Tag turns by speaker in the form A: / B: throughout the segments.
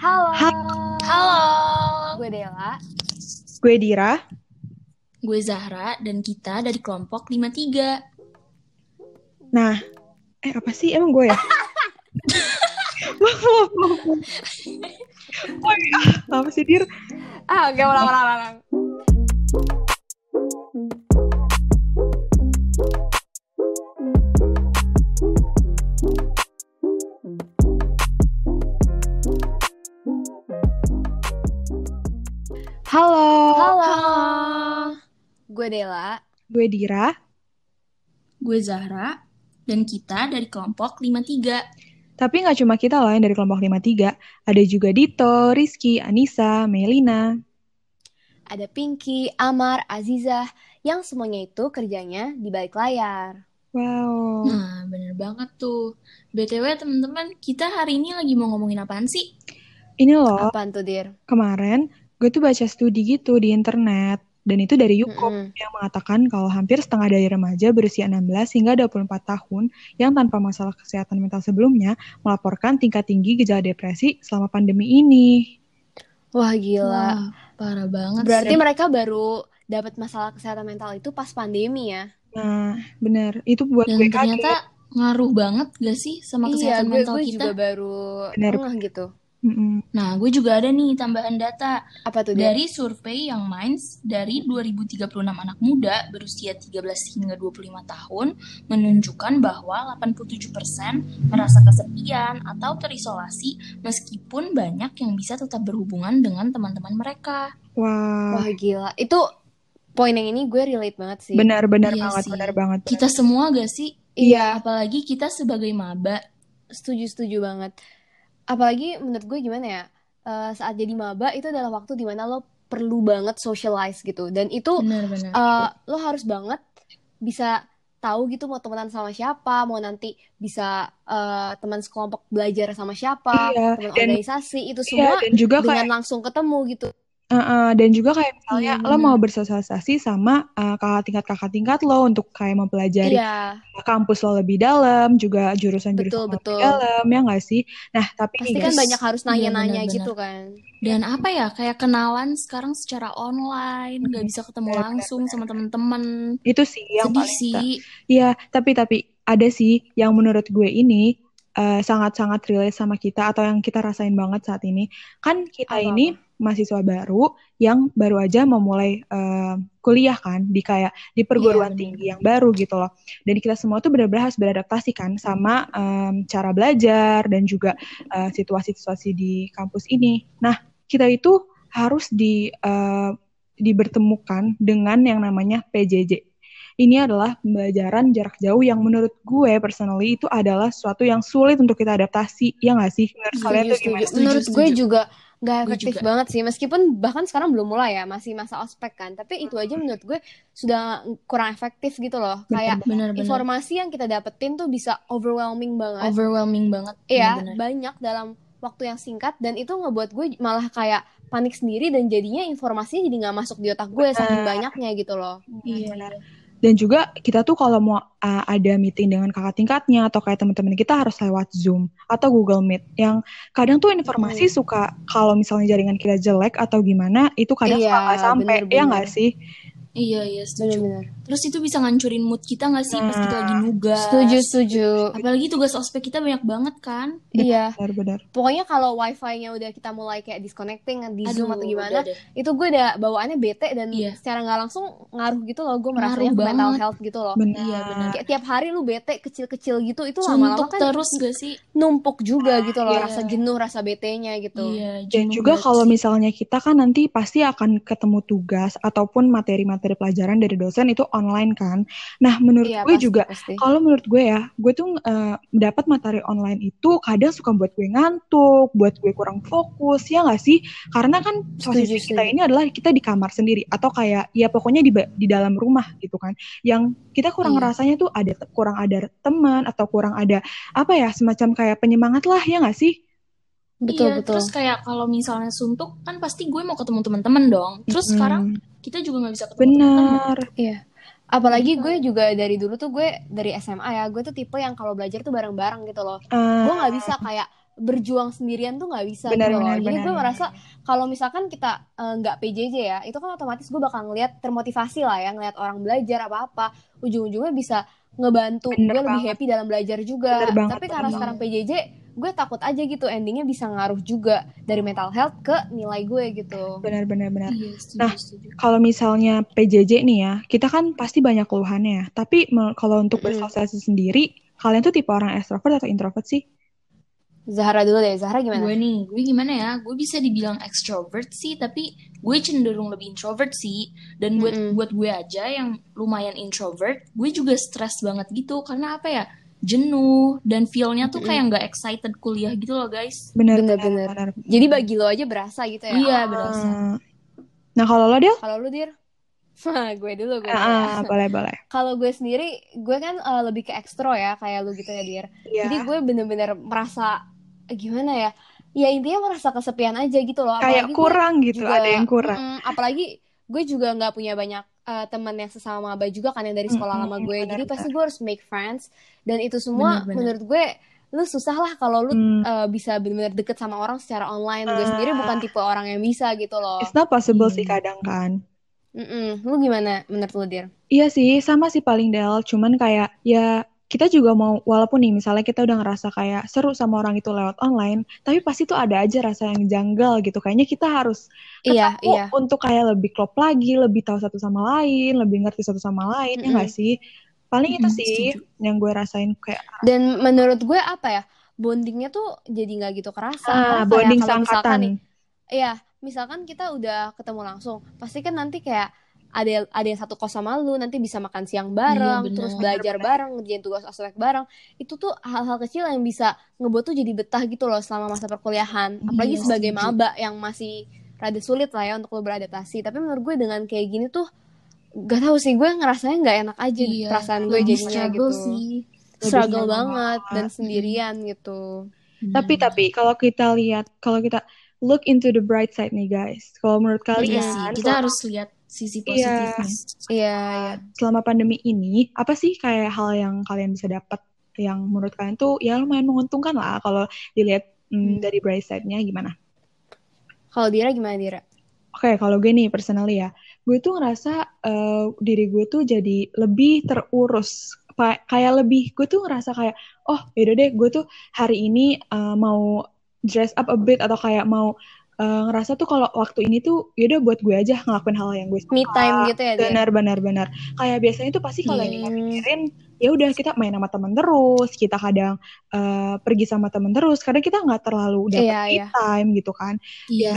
A: Halo.
B: Halo,
A: Gue Dela.
C: Gue Dira.
B: gue Zahra dan kita dari kelompok 53.
C: Nah, eh apa sih? Emang gue ya? Maaf, maaf, maaf. Woi, ah, apa sih, Dir?
A: Ah, gak ulang ulang ulang.
C: Halo,
A: Halo.
B: Halo,
A: Gue Dela.
C: gue Dira.
B: gue Zahra dan kita dari kelompok 53.
C: Tapi nggak cuma kita loh yang dari kelompok 53. Ada juga Dito, Rizky, Anissa, Melina.
A: Ada Pinky, Amar, Azizah, yang semuanya itu kerjanya di balik layar.
C: Wow.
B: Nah, bener banget tuh. BTW teman-teman, kita hari ini lagi mau ngomongin apaan sih?
C: Ini loh,
A: Apaan tuh, Dir?
C: kemarin gue tuh baca studi gitu di internet. Dan itu dari Yuko
A: Mm-mm.
C: yang mengatakan kalau hampir setengah dari remaja berusia 16 hingga 24 tahun yang tanpa masalah kesehatan mental sebelumnya melaporkan tingkat tinggi gejala depresi selama pandemi ini.
A: Wah, gila.
B: Wah, parah banget
A: Berarti
B: sih.
A: mereka baru dapat masalah kesehatan mental itu pas pandemi ya?
C: Nah, bener. Itu buat
B: Dan
C: gue
B: ternyata
C: kaget.
B: ngaruh banget gak sih
A: iya,
B: sama kesehatan
A: gue,
B: mental
A: gue
B: kita?
A: juga baru
C: Bener.
A: ngeh gitu.
C: Mm-mm.
B: Nah, gue juga ada nih tambahan data.
A: Apa tuh,
C: Gitu
A: Dir?
B: Dari survei yang Minds dari 2036 anak muda berusia 13 hingga 25 tahun menunjukkan bahwa 87% merasa kesepian atau terisolasi meskipun banyak yang bisa tetap berhubungan dengan teman-teman mereka.
C: Wah,
A: Wah, gila. Itu poin yang ini gue relate banget sih.
C: benar-benar
B: Iya
C: banget,
B: sih.
C: benar banget.
B: Kita semua gak sih?
A: Iya.
B: Apalagi kita sebagai maba.
A: Setuju-setuju banget. Apalagi menurut gue gimana ya, eh, saat jadi maba itu adalah waktu dimana lo perlu banget socialize gitu. Dan itu
C: Iya.
B: Benar-benar.
A: eh, lo harus banget bisa tahu gitu mau temenan sama siapa, mau nanti bisa eh, teman sekelompok belajar sama siapa,
C: Iya,
A: teman
C: dan-
A: organisasi, itu
C: Iya,
A: semua
C: dan juga kayak
A: dengan langsung ketemu gitu.
C: Uh-uh, dan juga kayak misalnya
B: Iya,
C: lo
B: benar.
C: mau bersosialisasi sama uh, kakak tingkat kakak tingkat lo untuk kayak mempelajari
A: Iya,
C: kampus lo lebih dalam juga
A: Betul,
C: jurusan-jurusan lo lebih
A: betul.
C: dalam ya nggak sih? Nah tapi
A: pasti
C: nih
A: kan
C: guys,
A: banyak harus
B: Iya,
A: nanya-nanya
B: benar-benar.
A: gitu kan.
B: Dan apa ya, kayak kenalan sekarang secara online, gak bisa ketemu
C: Benar,
B: langsung sama teman-teman.
C: itu sih yang
B: Sedih
C: paling
B: sih.
C: Iya tapi tapi ada sih yang menurut gue ini uh, sangat-sangat relate sama kita atau yang kita rasain banget saat ini kan kita
A: Apa-apa?
C: ini mahasiswa baru yang baru aja memulai uh, kuliah kan di kayak di
A: Iya,
C: perguruan
B: benar.
C: tinggi yang baru gitu loh. Dan kita semua tuh benar-benar harus beradaptasi kan sama um, cara belajar dan juga uh, situasi-situasi di kampus ini. Nah, kita itu harus di uh, dibertemukan dengan yang namanya PJJ. Ini adalah pembelajaran jarak jauh yang menurut gue personally itu adalah suatu yang sulit untuk kita adaptasi, ya nggak sih? Menurut kalian
A: Setuju,
C: tuh
A: setuju.
C: gimana?
B: Setuju,
A: Menurut gue
B: setuju.
A: juga nggak
B: Gue
A: efektif
B: juga.
A: banget sih, meskipun bahkan sekarang belum mulai ya, masih masa ospek kan. Tapi itu aja menurut gue sudah kurang efektif gitu loh. Kayak
B: Benar-benar.
A: informasi yang kita dapetin tuh bisa overwhelming banget.
B: Overwhelming banget.
A: Iya,
B: benar-benar.
A: banyak dalam waktu yang singkat dan itu ngebuat gue malah kayak panik sendiri dan jadinya informasinya jadi nggak masuk di otak gue saking
B: Nah.
A: banyaknya gitu loh.
B: Iya,
C: Benar.
B: iya.
C: Dan juga kita tuh kalau mau uh, ada meeting dengan kakak tingkatnya atau kayak teman-teman kita harus lewat Zoom atau Google Meet yang kadang tuh informasi suka kalau misalnya jaringan kita jelek atau gimana itu kadang suka
A: Iya,
C: nggak sampai ya
A: bener-bener.
C: nggak sih?
B: Iya, iya, setuju.
A: Bener-bener.
B: Terus itu bisa ngancurin mood kita nggak sih pas
C: Nah.
B: kita lagi nugas?
A: Setuju, setuju.
B: Apalagi tugas ospek kita banyak banget kan?
A: Iya,
C: Benar-benar.
A: pokoknya kalau wifi-nya udah kita mulai kayak disconnecting di Zoom atau gimana,
B: udah deh.
A: itu gue udah bawaannya bete dan
B: Iya.
A: secara nggak langsung ngaruh gitu loh gue merasanya
B: Ngaruh
A: ke mental
B: banget.
A: health gitu loh
C: Benar.
B: Iya, benar.
A: kayak tiap hari lu bete kecil-kecil gitu itu lama-lama
B: Suntuk
A: kan
B: terus gak sih?
A: numpuk juga gitu loh
B: Iya.
A: rasa jenuh rasa betenya gitu
B: Iya,
C: Dan
B: jenuh
C: juga
B: banget
C: kalau
B: sih.
C: misalnya kita kan nanti pasti akan ketemu tugas ataupun materi-materi pelajaran dari dosen itu online kan. Nah, menurut
A: iya
C: gue
A: pasti,
C: juga
A: pasti.
C: Kalau menurut gue ya, gue tuh eh, dapat materi online itu kadang suka buat gue ngantuk, buat gue kurang fokus, ya nggak sih? Karena kan posisi
A: Setuju,
C: kita
A: setuju.
C: ini adalah kita di kamar sendiri atau kayak ya pokoknya di ba- di dalam rumah gitu kan. Yang kita kurang
B: Iya.
C: rasanya tuh ada kurang ada teman atau kurang ada apa ya semacam kayak penyemangat lah ya nggak sih?
A: betul
B: iya,
A: betul
B: terus kayak kalau misalnya suntuk kan pasti gue mau ketemu teman-teman dong. Terus sekarang
C: Hmm,
B: kita juga nggak bisa ketemu teman-teman.
C: benar.
A: apalagi gue juga dari dulu tuh gue dari SMA ya gue tuh tipe yang kalau belajar tuh bareng-bareng gitu loh
C: Eh,
A: gue nggak bisa kayak berjuang sendirian tuh nggak bisa
C: Benar,
A: gitu loh.
C: benar,
A: Jadi
C: benar,
A: gue
C: benar.
A: merasa kalau misalkan kita eh, nggak PJJ ya, itu kan otomatis gue bakal ngelihat termotivasi lah ya, ngelihat orang belajar apa-apa, ujung-ujungnya bisa ngebantu
C: Bener
A: gue lebih
C: banget.
A: happy dalam belajar juga.
C: Bener banget,
A: Tapi
C: bener
A: karena
C: banget.
A: sekarang PJJ, gue takut aja gitu endingnya bisa ngaruh juga dari mental health ke nilai gue gitu.
C: Benar-benar benar.
B: Iya, setuju,
C: Nah,
B: setuju.
C: Kalau misalnya PJJ nih ya, kita kan pasti banyak keluhannya. Tapi me- kalau untuk
A: Mm-mm.
C: bersosialisasi sendiri, kalian tuh tipe orang ekstrovert atau introvert sih?
A: Zahra dulu deh, Zahra gimana?
B: Gue nih, gue gimana ya? Gue bisa dibilang extrovert sih, tapi gue cenderung lebih introvert sih. Dan buat
A: Mm-mm.
B: buat gue aja yang lumayan introvert, gue juga stres banget gitu karena apa ya? Jenuh dan feel-nya tuh
A: Mm-mm.
B: kayak nggak excited kuliah gitu loh, guys.
C: Benar,
A: Bener-bener.
C: benar.
A: Jadi bagi lo aja berasa gitu ya.
B: Iya, berasa.
C: Eh, Nah, kalau lo dia?
A: Kalau lu dir? gue dulu gue. dulu ya.
C: Ah, boleh, boleh.
A: Kalau gue sendiri, gue kan eh, lebih ke ekstro ya, kayak lu gitu ya, Dir.
C: Iya.
A: Jadi gue bener-bener merasa gimana ya? Ya intinya merasa kesepian aja gitu loh. Apalagi
C: Kayak
A: gue
C: kurang gitu,
A: juga-
C: ada yang kurang.
A: Mm, apalagi gue juga nggak punya banyak eh, teman yang sesama maba juga kan yang dari sekolah
C: Mm,
A: lama
C: mm,
A: gue.
C: benar,
A: Jadi
C: benar.
A: pasti gue harus make friends dan itu semua
B: Benar, benar.
A: menurut gue lu susah lah kalau lu
C: Hmm,
A: eh, bisa bener-bener deket sama orang secara online. Gue sendiri
C: Ah.
A: bukan tipe orang yang bisa gitu loh.
C: It's not possible
B: Hmm.
C: sih kadang kan.
A: Mm-mm. Lu gimana menurut lu, Dir?
C: Iya sih, sama sih paling Del. Cuman kayak ya kita juga mau walaupun nih misalnya kita udah ngerasa kayak seru sama orang itu lewat online, tapi pasti tuh ada aja rasa yang janggal gitu. Kayaknya kita harus
A: Iya,
C: oh,
A: iya.
C: untuk kayak lebih klop lagi, lebih tahu satu sama lain, lebih ngerti satu sama lain, ya nggak sih? Paling itu
B: Mm-mm,
C: sih
B: setuju.
C: yang gue rasain kayak
A: Dan menurut gue apa ya bondingnya tuh jadi nggak gitu kerasa.
C: ah,
A: Karena kayak
C: bonding
A: kalau misalkan
C: seangkatan.
A: nih, iya misalkan kita udah ketemu langsung, pasti kan nanti kayak ada ada yang satu kos sama lu, nanti bisa makan siang bareng,
B: Iya, bener.
A: terus belajar
C: Bener-bener.
A: bareng, ngerjain tugas ospek bareng. Itu tuh hal-hal kecil yang bisa ngebuat tuh jadi betah gitu loh selama masa perkuliahan. Apalagi
B: Iya,
A: sebagai
B: setuju.
A: maba yang masih rada sulit lah ya untuk lo beradaptasi. Tapi menurut gue dengan kayak gini tuh gak tahu sih gue ngerasanya nggak enak aja
B: Iya,
A: perasaan gue
B: Lebih
A: jadinya
B: struggle
A: gitu
B: sih.
C: Lebih
A: struggle
C: sama.
A: banget dan
B: Hmm.
C: Mm.
A: sendirian gitu.
C: Tapi
B: Benar.
C: tapi kalau kita lihat, kalau kita look into the bright side nih guys. Kalau menurut
B: Iya
C: kalian,
B: sih, kita
C: selama-
B: harus lihat sisi
C: Iya.
B: positifnya.
A: Iya, iya.
C: selama pandemi ini apa sih kayak hal yang kalian bisa dapat yang menurut kalian tuh ya lumayan menguntungkan lah kalau dilihat mm,
B: Hmm.
C: dari bright side-nya gimana?
A: Kalau Dira gimana Dira?
C: Oke, kalau gue nih personally ya, gue tuh ngerasa eh, diri gue tuh jadi lebih terurus. Pa- kayak lebih, gue tuh ngerasa kayak, oh yaudah deh, gue tuh hari ini eh, mau dress up a bit atau kayak mau eh, ngerasa tuh kalau waktu ini tuh yaudah buat gue aja ngelakuin hal yang gue suka.
A: Me time gitu ya Dir?
C: Benar, benar, benar. Kayak biasanya tuh pasti kalau
B: Iya.
C: kita mikirin, ya udah kita main sama teman terus, kita kadang eh, pergi sama teman terus, kadang kita nggak terlalu dapat
A: Iya,
C: me
A: iya.
C: time gitu kan.
B: Iya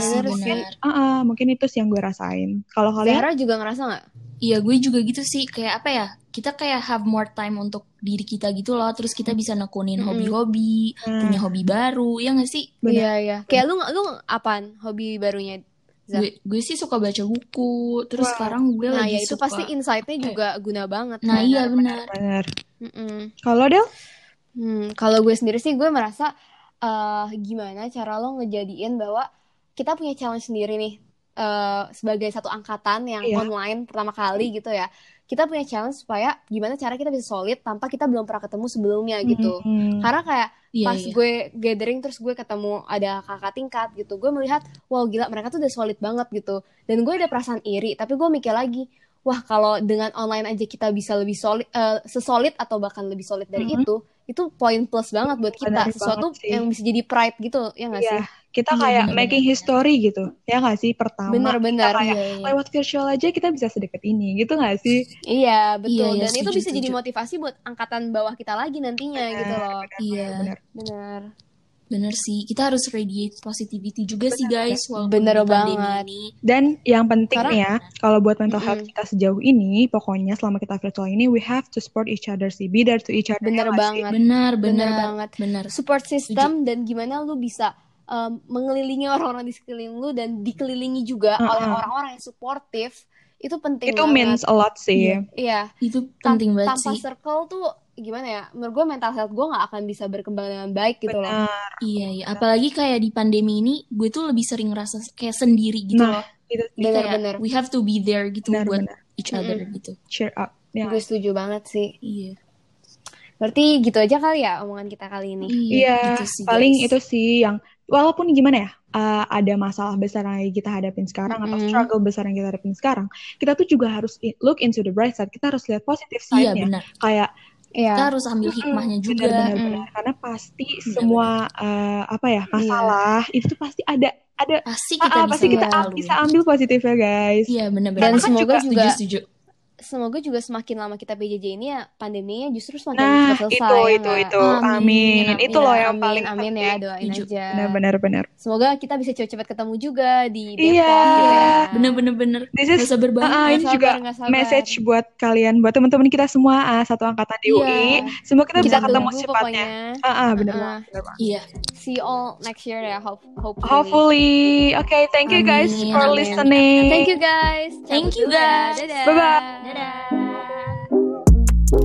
A: Benar
B: sih,
A: sih.
C: mungkin,
B: benar.
C: ah, ah, mungkin itu sih yang gue rasain. Kalau kalian, eh,
A: Zahra juga ngerasa nggak?
B: Iya, gue juga gitu sih. Kayak apa ya? Kita kayak have more time untuk diri kita gitu loh. Terus kita bisa nekunin
A: Mm-mm.
B: hobi-hobi,
C: nah,
B: punya hobi baru, ya nggak sih?
C: Benar.
A: Iya iya. Kayak lu lu apaan hobi barunya? Zah.
B: Gue, gue sih suka baca buku. Terus
C: Iya. Wah.
B: sekarang gue
A: Nah
B: lagi
A: ya itu
B: suka.
A: pasti insight-nya juga guna banget.
B: Nah,
A: kan?
B: iya benar.
C: benar.
A: Mm-mm.
C: Kalau Del,
A: Hmm, kalau gue sendiri sih gue merasa eh, gimana cara lo ngejadiin bahwa kita punya challenge sendiri nih eh, sebagai satu angkatan yang
C: Iya.
A: online pertama kali gitu ya. Kita punya challenge supaya gimana cara kita bisa solid tanpa kita belum pernah ketemu sebelumnya gitu.
C: Mm-mm.
A: Karena kayak
B: Iya,
A: pas
B: iya.
A: gue gathering terus gue ketemu ada kakak tingkat gitu gue melihat wow gila mereka tuh udah solid banget gitu dan gue ada perasaan iri tapi gue mikir lagi wah kalau dengan online aja kita bisa lebih solid eh, sesolid atau bahkan lebih solid dari
C: Mhm.
A: itu itu poin plus banget buat kita
C: Benar
A: sesuatu
C: banget sih.
A: yang bisa jadi pride gitu ya nggak
C: Iya,
A: sih
C: kita
B: Iya,
C: kayak
B: benar,
C: making
B: benar.
C: history gitu, ya nggak sih? Pertama,
A: Benar-benar.
C: kita kayak
B: Iya, iya.
C: lewat virtual aja kita bisa sedekat ini, gitu nggak sih?
A: iya betul
B: Iya, iya,
A: dan itu
B: setuju,
A: bisa jadi
B: setuju.
A: motivasi buat angkatan bawah kita lagi nantinya gitu loh
B: Iya,
C: Nah, Benar.
A: benar
B: bener sih. Kita harus radiate positivity juga sih, guys. Walaupun
A: Bener
B: di pandemi
A: banget.
B: ini.
C: Dan yang penting
A: Karena-
C: nih ya, kalau buat mental health
A: Mm-mm.
C: kita sejauh ini, pokoknya selama kita virtual ini, we have to support each other sih, be there to each other.
A: benar
C: ya nggak sih?
A: banget
B: Benar,
A: benar
B: benar.
A: banget
B: Benar.
A: support system dan gimana lu bisa um, mengelilingi orang-orang di sekeliling lu dan dikelilingi juga
C: Uh-uh.
A: oleh orang-orang yang suportif itu penting
C: Itu
A: banget.
C: means a lot sih.
B: Iya.
A: Iya,
B: Itu
A: tan-
B: penting banget
A: tanpa
B: sih.
A: circle tuh gimana ya? Menurut gue mental health gue nggak akan bisa berkembang dengan baik gitu loh.
C: Benar.
B: Iya, iya. Apalagi kayak di pandemi ini, gue tuh lebih sering ngerasa kayak sendiri gitu
C: Nah,
B: loh.
C: Itu sih.
B: Jadi
A: Benar,
B: kayak
A: benar.
B: we have to be there gitu
C: Benar,
B: buat
C: benar.
B: each other gitu.
C: Cheer up. Ya.
A: Gue setuju banget sih.
B: Iya.
A: Berarti gitu aja kali ya omongan kita kali ini.
C: Iya,
B: gitu sih,
C: paling
B: guys.
C: itu sih yang walaupun gimana ya, uh, ada masalah besar yang kita hadapin sekarang atau
A: Mm-mm.
C: struggle besar yang kita hadapin sekarang, kita tuh juga harus i- look into the bright side. Kita harus lihat positif
B: Iya
C: side-nya.
B: benar.
C: Kayak
B: Kita
A: Iya.
B: harus ambil hikmahnya juga. Iya,
C: benar-benar
A: Mm.
C: ya. benar. karena pasti semua uh, apa ya masalah itu tuh pasti ada ada
B: Pasti
C: Ah,
B: Iya. kita
C: ah,
B: bisa
C: pasti kita am-
B: melalui.
C: bisa ambil positifnya guys.
B: Iya benar-benar.
A: Dan
C: Karena kan
A: semoga
C: juga-
A: juga,
B: setuju setuju.
A: semoga juga semakin lama kita PJJ ini ya pandeminya justru semakin
C: Nah,
A: cepat
C: itu
A: selesai. ya
C: itu
A: nggak?
C: itu.
B: Amin,
C: Amin.
B: amin,
C: Itu loh
A: Ya,
C: yang
A: amin,
C: paling
A: amin ya doain
B: Setuju.
A: aja.
C: Benar-benar benar.
A: Semoga kita bisa cepet-cepet ketemu juga di Depok
C: Iya.
A: gitu ya.
B: Bener-bener bener.
C: This
B: Gak
C: is
B: sabar banget.
C: Ah,
A: Nggak
C: ini
A: sabar,
C: juga
A: nggak sabar.
C: message buat kalian, buat teman-teman kita semua ah, satu angkatan di
A: Iya.
C: UI. Semoga
A: Kita
C: kita bisa
B: Jangan
C: ketemu
A: tunggu
C: cepatnya.
A: pokoknya.
C: Ah, ah, bener
A: Ah.
C: banget, bener banget.
B: Iya.
A: See you all next year ya, hope, hopefully.
C: Hopefully, okay. Thank you guys
B: Amin,
C: for
B: amin.
C: listening.
A: Thank you guys.
B: Thank
A: Cabut
B: you,
A: dulu ya.
B: guys.
A: Dadah.
C: Bye-bye.
B: Dadah.